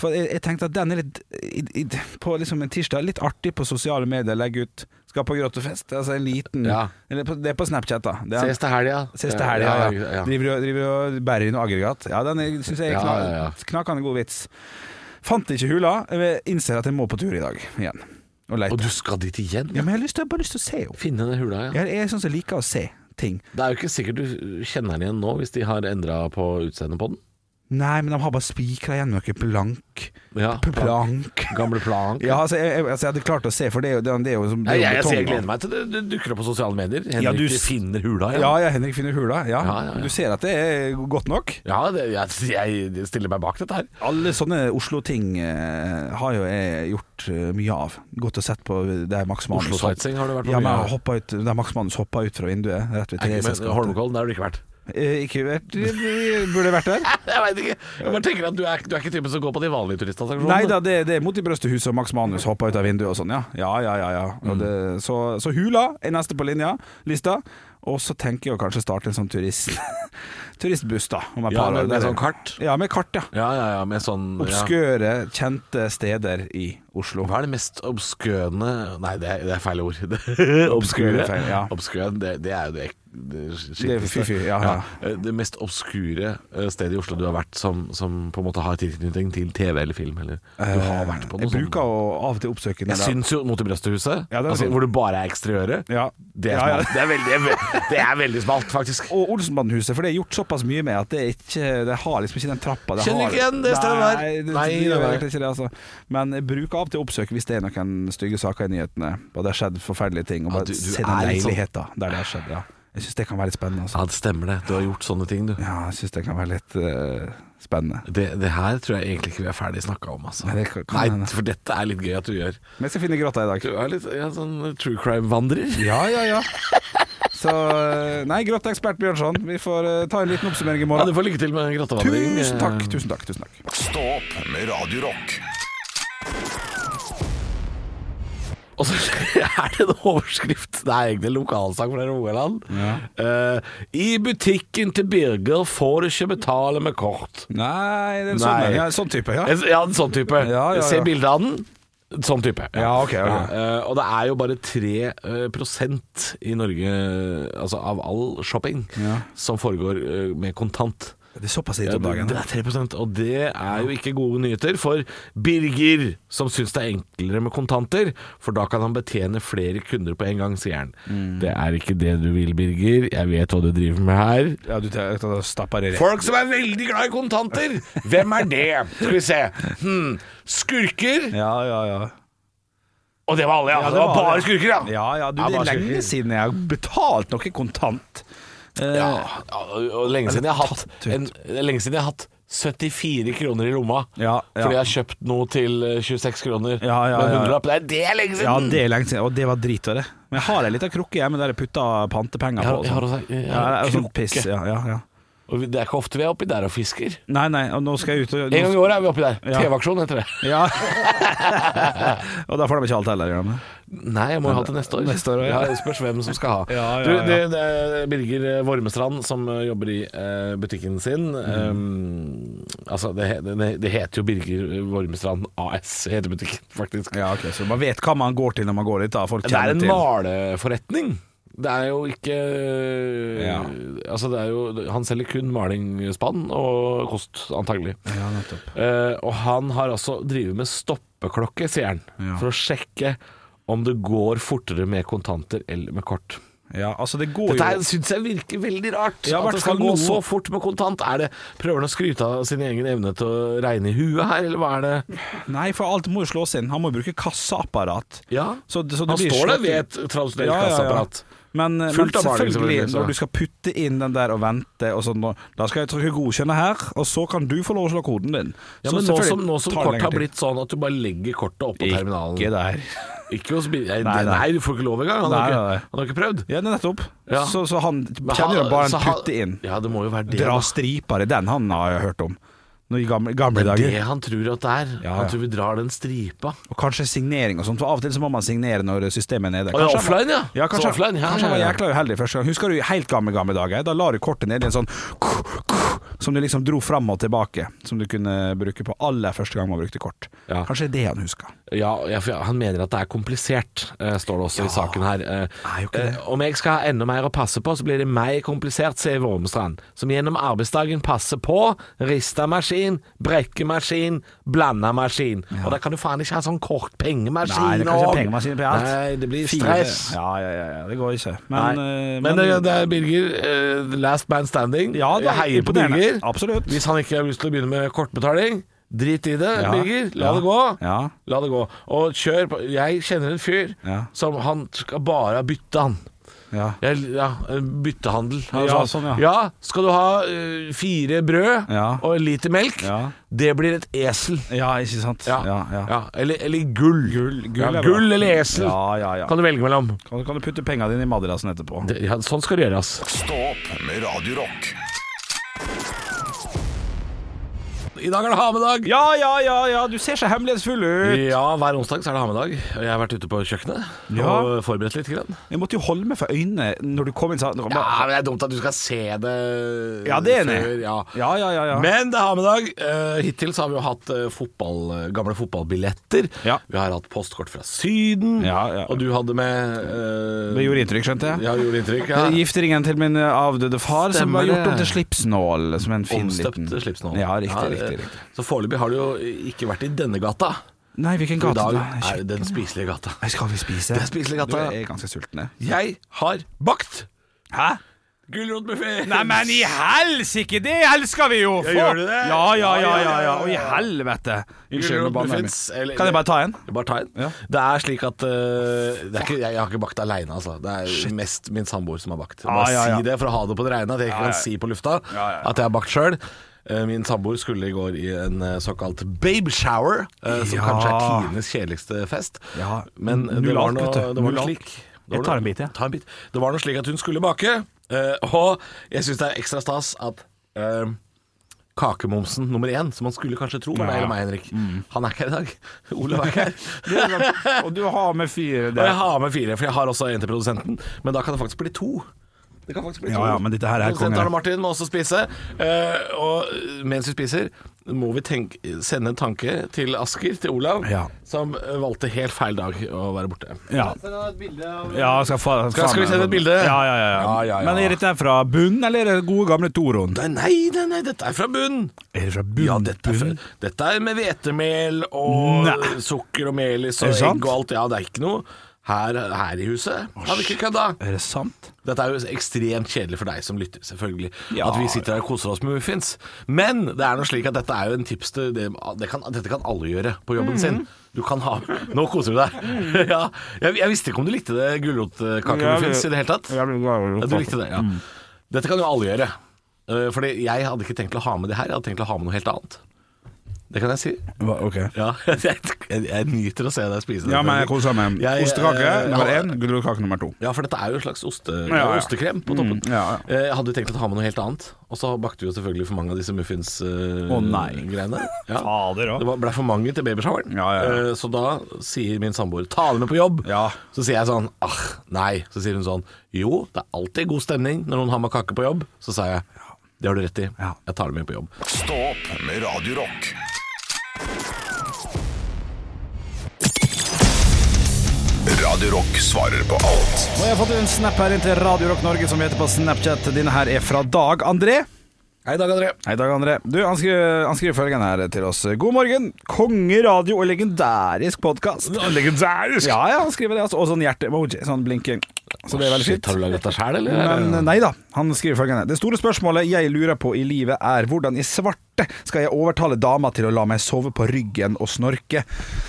For jeg, jeg tenkte at den er litt i, i, På liksom en tirsdag, litt artig på sosiale medier, legge ut Skal på grottefest. Altså en liten
Ja.
eller på, Det er på Snapchat, da. Det er,
Ses til helga.
Ses til helga, ja.
ja, ja.
Driver og- driver og bærer i noe aggregat. Ja, den syns jeg er
Ja,
kna
ja, ja.
knakende god vits. Fant ikke hula. Jeg innser at jeg må på tur i dag igjen. Og leite.
Og du skal dit igjen?
Ja, men jeg har lyst til, jeg har bare lyst til å se henne.
Finne den hula, ja.
Jeg er sånn som liker å se ting.
Det er jo ikke sikkert du kjenner den igjen nå, hvis de har endra på utseendet på den.
Nei, men de har bare spikra igjen noe plank.
Ja,
Plank.
Gamle plank.
Ja, altså jeg, jeg, altså, jeg hadde klart å se, for det er jo, det er jo- det er jo som
Nei,
det er jo
jeg, jeg,
betong,
jeg gleder
da.
meg til det, det dukker opp på sosiale medier. Henrik
Ja, du
du
s-
finner hula igjen.
Ja, ja, Henrik finner hula. Ja.
Ja, ja, ja.
Du ser at det er godt nok.
Ja, det, jeg, jeg stiller meg bak dette her.
Alle sånne Oslo-ting eh, har jo jeg gjort eh, mye av. Gått og sett på det er Max Manus.
Oslo-sightseeing har du vært på
Ja, men jeg
mye av.
har hoppa ut, det er Max Manus hoppa ut fra vinduet rett ved
Nei, Men
Theresias gate.
Holmenkollen, der har du ikke vært.
Eh, Ikke vært Burde vært der.
Jeg veit ikke. Jeg bare tenker at du er, du er ikke typen som går på de vanlige turistattraksjonene.
Nei da, det, det er mot i brøstehuset og Max Manus hoppa ut av vinduet og sånn, ja. Ja, ja, ja. ja.
Mm.
Og det, så, så Hula er neste på linja, lista. Og så tenker jeg å kanskje starte en sånn turist turistbuss, da. Om et
Ja,
par år.
med, med
Der-
sånn kart.
Ja, med kart, ja.
Ja, ja, ja, med sånn ja.
Obskøre, kjente steder i Oslo.
Hva er det mest obskøne Nei, det er, det er feil ord.
Obskure
obskure.
er feil, ja.
Obskøn, det, det er jo det, det
Det er fy-fy, ja, ja.
Det mest obskure eh, stedet i Oslo du har vært som, som på en måte har tilknytning til TV eller film? Eller du har vært på
Eh,
noe sånn-
Jeg bruker å av og til oppsøke
Jeg syns jo Mot i brøsthuset,
Ja, det er
altså,
fint.
hvor det bare er eksteriøret,
Ja.
det, er
Ja, ja.
smalt. Det, er veldig, det er ve- det er veldig smalt, faktisk.
og Olsenbandhuset, for det er gjort såpass mye med at det, er ikke, det har liksom ikke den trappa. Det
Kjenner
har,
ikke igjen det stedet der.
Nei, det,
Nei,
det gjør
nei.
egentlig ikke det, altså. Men bruk av og til oppsøk hvis det er noen stygge saker i nyhetene, og det har skjedd forferdelige ting. Og
Ja,
bare
du- du
se den
er litt sånn-
leiligheten der det har skjedd. Ja. Jeg syns det kan være litt spennende. Altså.
Ja, det stemmer det. Du har gjort sånne ting, du.
Ja, jeg syns det kan være litt eh, spennende.
Det, det her tror jeg egentlig ikke vi er ferdig snakka om, altså.
Nei, det kan- kan
Nei,
hende.
for dette er litt gøy at du gjør.
Men jeg skal finne grotta i dag.
Du er litt ja, sånn true crime-vandrer.
Ja, ja, ja. Så eh, Nei, grotteekspert Bjørnson, vi får eh, ta en liten oppsummering i
Ja,
morgen.
du får lykke til med grottevandringen. Eh,
Tusen takk, tusen takk, tusen takk.
Stå opp med Radio Rock.
Og så er det en overskrift Det er egentlig en lokalsang fra Rogaland. Eh, I butikken til Birger får du ikke betale med kort.
Nei, det er sånn,
Nei.
Ja, sånn type, ja.
En- Ja, en sånn type.
Ja, ja,
Se
ja.
bildet av den. Sånn type.
Ja, ok, ok.
eh, og det er jo bare 3 eh, prosent i Norge, eh, altså av all shopping,
Ja.
som foregår eh, med kontant.
Det er såpass lite
Ja,
om
det,
dagen.
det er 3 og det er jo ikke gode nyheter for Birger, som syns det er enklere med kontanter, for da kan han betjene flere kunder på en gang, sier han. Det er ikke det du vil, Birger. Jeg vet hva du driver med her.
Ja, du tar- tar- stapper i det.
Folk som er veldig glad i kontanter, hvem er det? Skal vi se. Hmm. Skurker.
Ja, ja, ja.
Og det var alle, ja.
Ja,
det, var bare skurker, ja.
Ja, ja, du,
Ja,
det
bare
er lenge
skurker.
siden jeg har betalt noe kontant. Eh,
Ja, og og lenge siden jeg har hatt
Eller
en, Lenge siden jeg har hatt 74 kroner i lomma
Ja, ja.
fordi jeg har kjøpt noe til eh, 26 kroner.
Ja, ja,
Men
ja.
100 det er det er lenge
Ja,
siden!
det er lenge siden, og det var drit av det. Men jeg har ei lita krukke hjemme der jeg putta pantepenger
Jeg
på.
har-
og
jeg har
sånn.
også- jeg
ja,
har
det er sånn
krukke.
piss. Ja, ja, ja.
Og vi- det er ikke ofte vi er oppi der og fisker.
Nei, nei, og nå skal jeg ut og
En gang i
nå,
året er vi oppi der.
Ja.
TV-aksjon heter det.
ja. Og da får de ikke alt heller. gjør de det?
Nei, jeg må jo ha til neste år.
Neste år, ja.
det spørs hvem som skal ha.
Ja, ja,
du,
ja.
det, det er Birger Vormestrand som eh, jobber i eh, butikken sin.
Mm.
Um, altså, det, he- det, det heter jo Birger Vormestrand AS, heter butikken faktisk.
Ja, ok, Så man vet hva man går til når man går dit. da Folk
Det er
kjenner
en
til
maleforretning. Det er jo ikke
Ja.
Altså, det er jo Han selger kun maling, spann og kost, antagelig.
Ja, nettopp.
Eh, og han har altså drevet med stoppeklokke, sier han,
Ja.
for å sjekke om det går fortere med kontanter eller med kort.
Ja, altså det går
Dette
jo
syns jeg virker veldig rart.
Ja,
at det skal
hvertfall
gå
noe.
så fort med kontant. Er det Prøver han å skryte av sin egen evne til å regne i huet her, eller hva er det?
Nei, for alt må jo slås inn. Han må bruke kassaapparat.
Ja,
Så, så det
Han
blir
står der
slått-
ved et tradisjonelt
Ja, ja, ja.
kassaapparat.
Men, eh, men
Fullt av maling,
selvfølgelig,
selvfølgelig, så.
når du skal putte inn den der og vente og sånn, og Da skal jeg trykke 'godkjenne' her, og så kan du få lov å slå koden din.
Ja,
Så
men nå
selvfølgelig
som, nå som
tar det
kortet
lengre
har
tid.
blitt sånn at du bare legger kortet oppå terminalen
Ikke der.
Ikke hos bil... Nei,
Nei, nei.
nei, du får ikke lov engang. Han, har
Nei,
ikke-
nei, nei.
han har ikke prøvd.
Ja, nettopp.
Ja.
Så, så han
Men
kjenner jo
han-
bare
så
en
han-
putte inn.
Ja, det må jo være det.
Dra
da.
striper i den, han har jeg hørt om. Nå I gamle, gamle
Det er
dager.
det han tror at det er.
Ja,
Han
ja.
tror vi drar den stripa.
Og kanskje signering og sånt. For av og til så må man signere når systemet er nede.
Å, ja,
Kanskje han var-
offline, ja.
Ja,
Så
kanskje,
offline, ja,
kanskje han
ja,
var
ja.
jækla uheldig første gang. Husker du i helt gamle, gamle dager? Da la du kortet ned i en sånn som du liksom dro fram og tilbake. Som du kunne bruke på aller første gang man brukte kort.
Ja.
Kanskje det er det han husker.
Ja, ja, for han mener at det er komplisert, eh, står det også i saken her. Eh,
er jo ikke det.
eh, Om jeg skal ha enda mer å passe på, så blir det mer komplisert, sier Vormstrand, som gjennom arbeidsdagen passer på ristamaskin, brekkemaskin, blandamaskin. Og da kan du faen ikke ha sånn kort pengemaskin
Nei, det kan ikke
og-
ha pengemaskin på alt.
Nei, det blir
Fire-
stress.
Ja, ja, ja, ja, det går ikke.
Nei.
Men, eh,
Men, det, det er Birger. eh, the last man standing.
Ja, det er
jeg heier på
imponerende.
Birger.
Absolutt.
Hvis han ikke har lyst til å begynne med kortbetaling, drit i det,
Ja.
Birger. La
Ja.
det gå.
Ja.
La det gå. Og kjør på. Jeg kjenner en fyr
Ja.
som han skal bare bytte, han.
ja.
Jeg, ja, byttehandel.
Ja, sånn, ja.
skal du ha eh, fire brød
Ja.
og en liter melk?
Ja.
Det blir et esel.
ja, ikke sant. Ja, ja.
Ja, Eller, eller gull. Gull,
er
ja,
bra.
gull eller esel
Ja, ja, ja.
kan du velge mellom.
Kan, kan du putte pengene dine i madrassen etterpå?
Det, ja, sånn skal det gjøres.
Stå opp med Radio Rock.
I dag er det hamedag.
Ja, ja, ja, ja, du ser så hemmelighetsfull ut!
Ja, hver onsdag så er det hamedag. Og Jeg har vært ute på kjøkkenet
Ja.
og forberedt litt. Grann.
Jeg måtte jo holde meg for øynene når du kom inn. sa-
men det er dumt at du skal se det
ja, det er enig.
før, ja.
ja, ja, ja, ja.
Men det er hamedag. Eh, hittil så har vi jo hatt eh, fotball, eh, gamle fotballbilletter.
Ja.
Vi har hatt postkort fra Syden,
Ja, ja.
og du hadde med eh,
Det gjorde inntrykk, skjønte jeg.
Ja, det gjorde inntrykk.
Det er
Ja.
Gifteringen til min avdøde far som
Stemmer
var gjort om
det.
til slipsnål. Som en fin
Omstøpt
liten-
slipsnål.
Ja, riktig,
Ja, eh,
riktig, riktig.
Så foreløpig har det jo ikke vært i denne gata.
Nei, hvilken
For I
gate?
dag
da?
er det den spiselige gata.
Nei, Skal vi spise?
Det er spiselig gata,
Du
ja.
er ganske sulten, jeg.
Jeg har bakt
Hæ?
gulrotbuffé!
Nei, men i helsike! Det elsker vi jo!
Ja, gjør du det?
Ja, ja, ja, ja, ja.
ja.
Og i helvete. Unnskyld, nå banner jeg
Gulrotmuffins, eller-
meg. Kan jeg bare ta en?
Bare ta en.
Ja.
Det er slik at eh, det er ikke, jeg, jeg har ikke bakt aleine, altså. Det er mest min samboer som har bakt. Bare
Ah, ja, ja.
si det for å ha det på det reine, at jeg ikke
Ja, ja.
kan si på lufta
Ja, ja, ja.
at jeg har bakt sjøl. Min samboer skulle i går i en eh, såkalt babe shower, eh, som
Ja.
kanskje er tidenes kjedeligste fest.
Ja,
Men eh,
null
det var
alk,
noe,
vet du.
det var
Null
noe
alk.
slik det
Jeg
var
tar
noe-
en bit, jeg.
Ta en bit. Det var noe slik at hun skulle bake, eh, og jeg syns det er ekstra stas at eh, kakemomsen nummer én, som man skulle kanskje tro. Men det
Ja. Mm.
er meg, Henrik. Han er ikke her i dag. Olav er ikke her.
Og du har med fire
Og jeg
der.
har med fire, for jeg har også en til produsenten. Men da kan det faktisk bli to. Det kan faktisk bli
Ja,
to.
ja, men dette her er
Produsent
konge.
Arne Martin må også spise. eh, og mens vi spiser, må vi tenke, sende en tanke til Asker, til Olav,
Ja.
som eh, valgte helt feil dag å være borte.
Ja.
Send ham et bilde av
Ja, skal, fa
Skal- skal vi sende et bilde?
Ja, ja, ja.
Ja, ja, ja.
Men er dette her fra bunnen, eller er det gode gamle Toroen?
Nei, nei, nei, nei dette er fra bunnen!
Er det fra bunnen?
Ja, dette er, fra- dette er med hvetemel og
Nei.
sukker og melis
Er
og
det sant?
egg og alt. Ja, det er ikke noe her, her i huset. Har vi ikke kødda?
Er det sant?
Dette er jo ekstremt kjedelig for deg som lytter, selvfølgelig.
Ja.
At vi sitter her og koser oss med muffins. Men det er noe slik at dette er jo en tips til det, det kan, Dette kan alle gjøre på jobben sin.
Mm.
Du kan ha Nå koser du deg. ja, jeg, jeg visste ikke om du likte det gulrotkakemuffins i det hele tatt. Ja, du likte det, ja.
Mm.
Dette kan jo alle gjøre. Eh, Fordi jeg hadde ikke tenkt å ha med det her, jeg hadde tenkt å ha med noe helt annet. Det kan jeg si.
Hva- Ok.
Ja, jeg, jeg, jeg nyter å se deg spise det.
Ja, men jeg koser meg.
Jeg, eh,
Ostekake nummer
ja.
én, gulrotkake nummer to.
Ja, for dette er jo en slags oste,
ja. Mm,
ostekrem på toppen.
ja, ja.
Eh, Jeg hadde jo tenkt å ta med noe helt annet, og så bakte vi jo selvfølgelig for mange av
Å,
disse
nei.
muffins-greiene.
Fader, da.
Det var- ble for mange til babyshoweren.
Ja, ja, ja.
Eh, Så da sier min samboer 'ta det med på jobb'.
Ja.
Så sier jeg sånn 'ah, nei'. Så sier hun sånn 'jo, det er alltid god stemning når noen har med kake på jobb'. Så sa jeg 'det har du rett i,
Ja.
jeg tar det med på jobb'.
Stå opp med Radio Rock. Radio Rock svarer på alt
Og jeg har fått en snap her inn til Radio Rock Norge som heter på Snapchat. Denne her er fra Dag André.
Hei, Dag André.
Hei, Dag André. Du, han skriver, han skriver følgende her til oss. God morgen, kongeradio og legendarisk podkast.
Legendarisk!
Ja, ja, han skriver det. Altså. Og sånn hjerte-emoji, sånn blinking. Så det er veldig
Shit,
fint.
har du laget dette sjæl, eller?
Men eh, nei da, han skriver følgende Det store spørsmålet jeg lurer på i livet er Hvordan i svarte skal jeg overtale dama til å la meg sove på ryggen og snorke?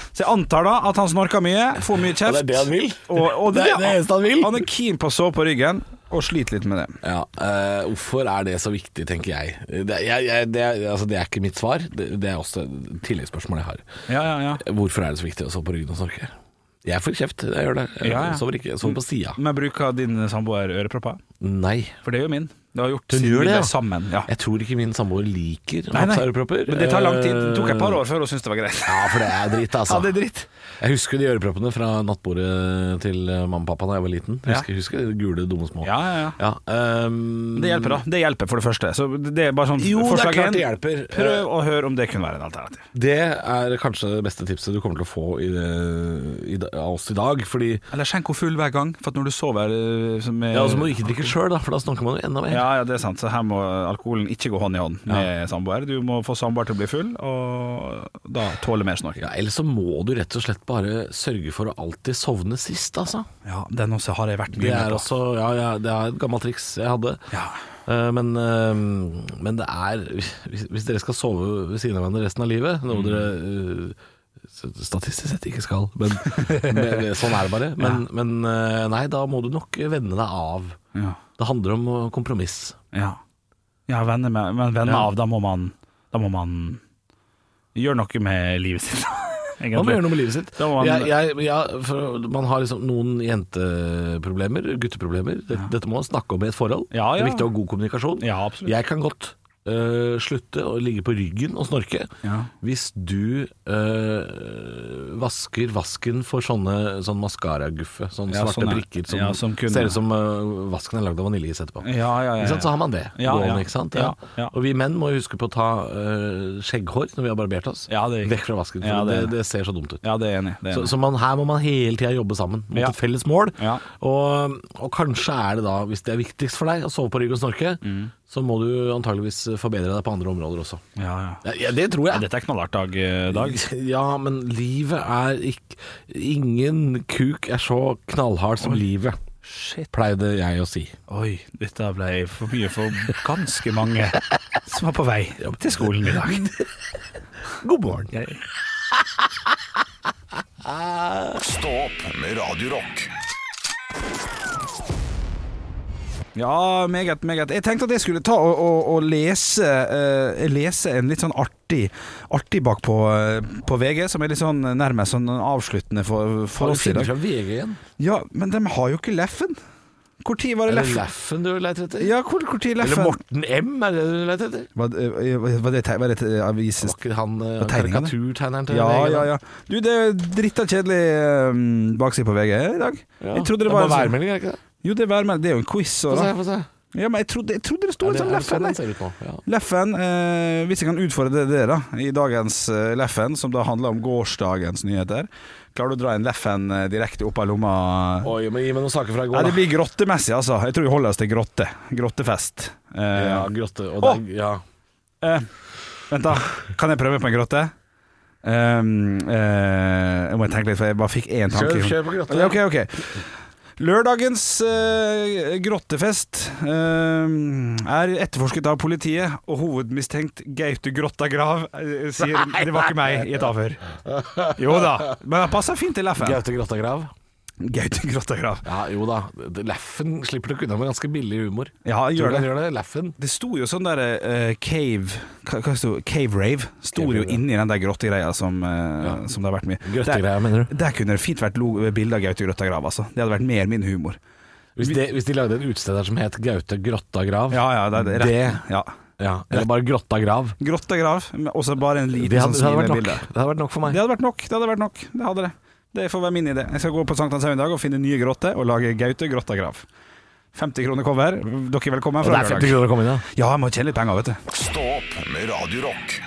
Så jeg antar da at han snorker mye, får mye kjeft
Og det er det han vil.
og, og
Det er det eneste han vil.
Han er keen på å sove på ryggen og sliter litt med det
Ja, eh, Hvorfor er det så viktig, tenker jeg. Det, jeg, jeg, det, er- altså, det er ikke mitt svar. Det, det er også et tilleggsspørsmål jeg har.
Ja, ja, ja
Hvorfor er det så viktig å sove på ryggen og snorke? Jeg får kjeft, jeg gjør det. Jeg
Ja, ja.
sover ikke. Jeg sover på sida.
Men bruker din samboer ørepropper?
Nei.
For det gjør min Det har gjort
Hun
siden
gjør
vi
det,
ble
ja.
sammen ja.
Jeg tror ikke min samboer liker
Nei, nei.
ørepropper.
Men det tar lang tid Det tok et
Eh.
par år før hun syntes det var greit
Ja, for det er dritt, altså.
Ja, det er dritt.
Jeg husker de øreproppene fra nattbordet til eh, mamma og pappa da jeg var liten.
Ja.
Husker, husker de gule, dumme små.
Ja, ja, ja
Ja, ehm,
det hjelper da, det hjelper for det første Så det er bare sånn
Jo, det er
forslag
klart
én.
det hjelper.
Prøv å høre om det kunne være en alternativ
Det er kanskje det beste tipset du kommer til å få i det, i, da- av oss i dag. Fordi
Eller skjenk henne full hver gang, for at når du sover eh, som er,
Ja, og så må du ikke drikke sjøl, for da snakker man jo enda mer.
ja, ja, det er sant. Så her må alkoholen ikke gå hånd i hånd med samboer. Du må få samboer til å bli full, og da tåle mer snork.
Ja, Eller så må du rett og slett bare sørge for å alltid sovne sist, altså.
Ja, den også har jeg vært
Det
mye
er
med på.
også Ja, ja det er et gammelt triks jeg hadde.
Ja.
Eh, Men, eh, men det er hvis, hvis dere skal sove ved siden av hverandre resten av livet, noe dere eh, s- statistisk sett ikke skal, men, men sånn er det bare. Men, men eh, nei, da må du nok vende deg av.
Ja,
Det handler om eh, kompromiss.
ja. ja venner med, men venner
Ja.
av, da må man Da må man gjøre noe med livet sitt. egentlig.
Man må gjøre noe med livet sitt.
Da må man-
jeg, jeg, ja, for man har liksom noen jenteproblemer, gutteproblemer. Dette, dette må man snakke om i et forhold.
Ja,
Det
ja.
er viktig å ha god kommunikasjon.
Ja, absolutt.
Jeg kan godt øh, slutte å ligge på ryggen og snorke
Ja.
hvis du øh, vasker vasken for sånne sånn maskaraguffe. Sånne
Ja,
svarte
sånne.
brikker som,
Ja, som kunne-
ser ut som øh, vasken er lagd av vaniljeis etterpå.
Ja, ja, ja, ja.
Ikke sant? Så har man det
Ja,
gående,
ja.
ikke sant?
Ja, ja.
Og vi menn må jo huske på å ta øh, skjegghår når vi har barbert oss.
Ja, det er riktig.
Vekk fra vasken, for
Ja,
det,
det er-
det ser så dumt ut.
Ja, det er jeg enig. i, Det er
Så,
jeg enig.
så man, her må man hele tida jobbe sammen mot
Ja.
et felles mål.
Ja.
Og, og kanskje er det da, hvis det er viktigst for deg å sove på rygg og snorke,
Mm.
så må du antageligvis forbedre deg på andre områder også.
i. Ja, ja.
Ja, ja, det tror
Ja,
jeg.
dette er knallhardt, Dag. eh, dag.
Ja, men livet er ikke Ingen kuk er så knallhard som livet, pleide jeg å si.
Oi, dette ble for mye for ganske mange som var på vei til skolen i dag.
God morgen.
Stå opp med Radio Rock
Ja, meget, meget. Jeg tenkte at jeg skulle ta og, og, og lese, eh, lese en litt sånn artig, artig bak på, eh, på VG, som er litt sånn nærmest sånn avsluttende for,
Har
for
du
oss i
funnet
dag.
fra VG igjen?
Ja, men de har jo ikke leffen. Hvor tid var det
Er det
Leffen?
Leffen du leter etter?
Ja, hvor, hvor tid
Eller
Leffen?
Morten M, er det det du leter etter?
Var, eh, var det, teg- var det te- avises...
Var ikke han eh,
Og tegningen, det.
karikaturtegneren til
Ja,
VG, da?
ja, ja. Du, det er dritta kjedelig eh, bakside på VG i dag.
Ja.
Jeg trodde det var,
Det var
en sånn-
værmelding, er det ikke det?
Jo, det er værmelding. Det er jo en quiz. Og,
Få se,
da.
få se.
Ja, men jeg trodde, jeg trodde det sto
Er
en
det,
sånn
er det
Leffen
sånn
der.
den ser ut nå? Ja.
Leffen, eh, hvis jeg kan utfordre dere da, i dagens eh, Leffen, som da handler om gårsdagens nyheter. Klarer du å dra en Leffen eh, direkte opp av lomma?
Oi, men gi meg noen saker fra i
Nei,
går,
det blir grottemessig, altså. Jeg tror vi holder oss til grotte. Grottefest. Eh,
Ja, grotte. Og
Å!
det, ja.
eh, vent, da. Kan jeg prøve på en grotte? Um, eh, jeg må tenke litt, for jeg bare fikk én tanke.
Kjør, kjør på grotte.
Ja, Ok, ok Lørdagens eh, grottefest eh, er etterforsket av politiet, og hovedmistenkt Gaute Grotta Grav eh, sier det var ikke meg i et avhør. Jo da, men det passer fint til Leffen.
Gaute Grottagrav.
Gaute Grotta Grav.
Ja, jo da. Det- Leffen slipper nok unna med ganske billig humor.
Ja, han
Tror
gjør
du han
det.
gjør det? Leffen?
Det sto jo sånn der eh, cave hva, hva sto, Cave rave. Sto
Cave
jo
rave, ja.
inni den der grottegreia som, eh,
Ja.
som det har vært mye. Der,
Grøttegreier, mener du?
der kunne det fint vært lo- bilde av Gaute Grotta Grav, altså. Det hadde vært mer min humor.
Hvis de, hvis de lagde en utested der som het Gaute Grottagrav
Ja, ja, det, det,
Det-
ja.
ja, Eller bare Grottagrav.
Grotta grav, men også bare en
Det
liten sånn
hadde, det, hadde
smil
vært
med
nok.
bilde.
det hadde vært nok for
Det
meg.
hadde vært nok. Det hadde vært nok. Det hadde det. Det får være min idé. Jeg skal gå på Sankthanshaugen i dag og finne nye grotter og lage Gaute grotta grav. 50 kroner cover. Dere er velkommen.
Og det
Fra
er 50
lørdag.
kroner å komme inn, ja.
Ja, jeg må tjene litt penger, vet du.
Stå opp med Radio Rock.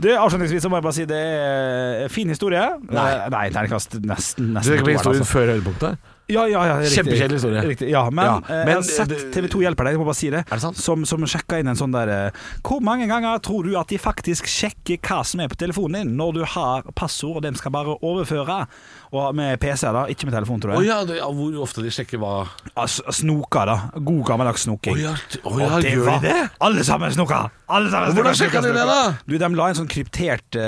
du avslutningsvis så må jeg bare si det er en fin historie.
Nei.
Eh, Nei, terningkast nesten.
Du
nesten
tenker på
toeren,
historien
altså.
før høydepunktet?
Ja, ja, ja, riktig.
Kjempekjedelig historie.
Riktig. Ja, men,
Ja,
eh, jeg
men
har sett
det-
TV 2 hjelper deg, jeg må bare si det.
Er det sant?
Som, som sjekka inn en sånn der eh, Hvor mange ganger tror du at de faktisk sjekker hva som er på telefonen din, når du har passord og dem skal bare overføre? Og med PC, da, ikke med telefon, tror
Å
jeg.
ja, det- ja, hvor ofte de sjekker hva
Altså, snoker, da. God gammeldags snoking.
Å ja, t- å ja,
Og det
gjør
var-
de det?
Alle sammen snoka! Alle sammen
Hvordan
snoka,
sjekka de
snoka,
det,
snoka.
da?
Du, De la en sånn kryptert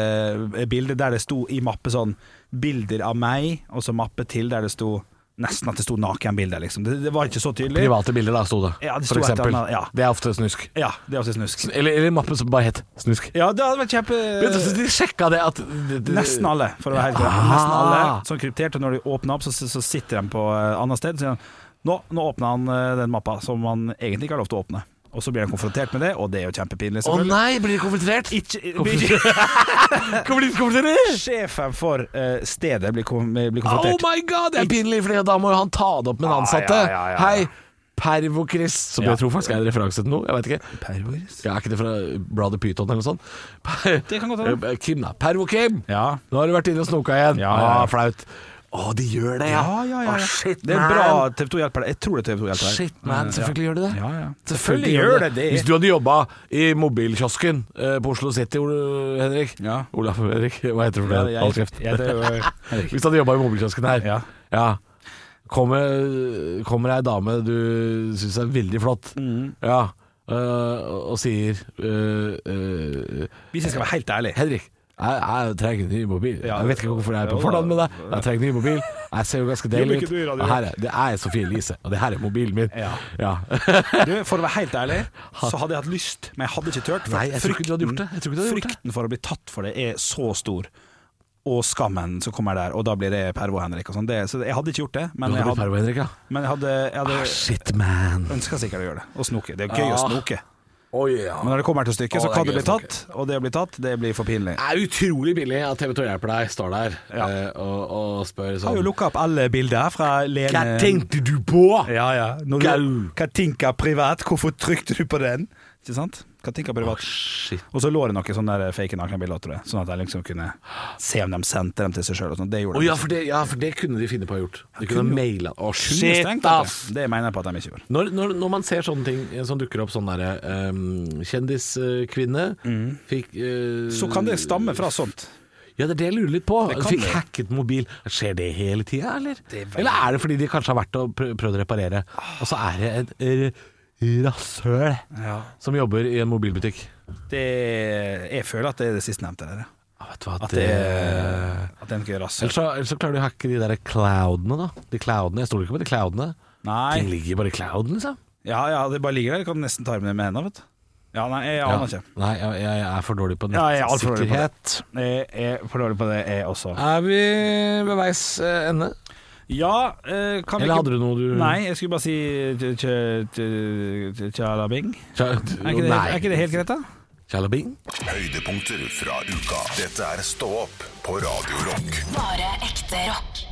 eh, bilde der det sto i mappe sånn Bilder av meg, og så mappe til der det sto Nesten at det sto nakenbilder, liksom. Det, det var ikke så tydelig.
Private bilder, da, sto det.
Ja, det sto
for
et
eksempel.
eller annet, ja.
Det er ofte snusk.
Ja, det er også snusk.
Eller, eller mappen som bare het Snusk.
Ja, det hadde vært kjempe...
Men så de sjekka det at det- det-
Nesten alle, for å være helt korrekt.
Ah.
Nesten alle Sånn kryptert, og når de åpner opp, så, så sitter de på et annet sted. Så sier han nå, nå åpner han eh, den mappa som han egentlig ikke har lov til å åpne. Og så blir han konfrontert med det, og det er jo kjempepinlig,
Å
selvfølgelig.
nei, blir de konfrontert?
Ikke,
Kommer de til å konfrontere?
sjefen for eh, stedet blir, kon- blir
Oh
konfrontert.
my god, det er pinlig, for da må jo han ta det opp med den ansatte.
ja, ja, ja, ja.
Hei, Pervo-Chris, som
Ja.
jeg tror faktisk er en referanse til noe. Jeg vet ikke. Ja, er ikke det fra Brother Python eller noe sånt? Per-
Det kan godt hende.
Eh, Kim, da. Pervo-Kim!
Ja.
Nå har du vært inne og snoka igjen.
Ja, ja, ja.
Ah, flaut. Å, de gjør det, ja.
Ja, ja, ja, ja.
Ah, shit,
det er
man.
bra TV 2 hjelper deg. Jeg tror det er TV 2 hjelper deg. Mm,
Shit, man. Selvfølgelig gjør de det.
Ja, ja.
Selvfølgelig gjør det det. Hvis du hadde jobba i mobilkiosken eh, på Oslo City, Ol- Henrik
Ja.
Olaf Henrik, hva heter du for
Ja,
det?
jeg-
Hold kjeft.
jeg- det er jo- Henrik.
Hvis du hadde jobba i mobilkiosken her,
Ja.
Ja. Kommer, kommer ei dame du syns er veldig flott,
Mm.
ja, øh, og sier øh, øh,
Hvis jeg skal være helt ærlig.
Henrik, jeg, jeg trenger en ny mobil.
Ja.
jeg vet ikke hvorfor jeg er
Jo
på
da.
fornavn med deg. men Jeg trenger en ny mobil. Jeg ser jo ganske
Jobber
deilig
ikke
ut.
du i radio?
Og her er, det er Sofie Elise, og det her er mobilen min.
Ja.
Ja.
Du, for å være helt ærlig, så hadde jeg hatt lyst, men jeg hadde ikke tørt. For
Nei, jeg tror ikke du hadde gjort det. Jeg tror ikke du hadde gjort det.
frykten for å bli tatt for det er så stor. Og skammen som kommer der, og da blir det Pervo Henrik og sånn. Det- Så jeg hadde ikke gjort det, men
Du
jeg
hadde blitt
hadde,
pervo, Henrik, ja.
men jeg hadde, jeg
Ah,
hadde
shit, man.
ønska sikkert å gjøre det. Å snoke. Det er gøy å
Ja.
snoke.
Oh, ja.
Men når det kommer til stykket,
Ah. Å,
så
det er
kan du
gøy
bli
å snoke.
tatt, og det å bli tatt, det blir for pinlig.
Det er utrolig billig at TV 2 hjelper deg, står der
Ja.
eh, og, og spør
Jeg har jo
sånn
lukka opp alle bilder fra Lene
Hva tenkte du på?
Ja, ja. Når
Gau.
du, Katinka privat, hvorfor trykte du på den? Ikke sant? Katinka privat.
Shit.
Og så lå det noen sånne der fake nakenbilder, tror jeg. Sånn at jeg liksom kunne se om de sendte dem til seg sjøl. Det
Å
gjorde
ja,
de.
for det, ja, for det kunne de finne på å ha gjort. De kunne ha maila Å,
Kunne
shit,
stengt,
ass!
vet du. Det mener jeg på at de ikke gjorde.
Når, når, når man ser sånne ting eh, som dukker opp, sånn derre ehm, Kjendiskvinne fikk eh,
Mm. Så kan det stamme fra sånt.
Ja, det er det jeg lurer litt på.
Det kan
Fikk
det.
hacket mobil. Skjer det hele tida, eller?
Det Ah. er veldig-
Eller er det fordi de kanskje har vært og prø- prøvd å reparere, og så er det et r- rasshøl som jobber i en mobilbutikk?
Det, jeg føler at det er det sistnevnte der. ja.
Ja, vet du hva,
At
det
det, at det er noe
Ellers
rasshøl.
så, ellers så klarer du å hacke de der cloudene, da. De cloudene, Jeg stoler ikke på de cloudene. De
Nei.
ligger bare i clouden, liksom.
Ja ja, det bare ligger der. Du kan nesten ta med det med hendene, vet du. Ja, nei, jeg aner
Ja.
ikke.
Nei, jeg, jeg er for dårlig på
Ja, jeg er alt for dårlig på det.
nettsikkerhet.
Jeg er for dårlig på det, jeg også.
Er vi ved veis eh, ende?
Ja, eh, kan vi
Eller
ikke-
hadde du noe du
Nei, jeg skulle bare si tj- tj- tj- tj- tjalabing.
Tja,
Er ikke det,
nei.
er ikke det helt greit, da?
Tjalabing?
Høydepunkter fra uka. Dette er Stå opp på Radio Rock.
Bare ekte rock.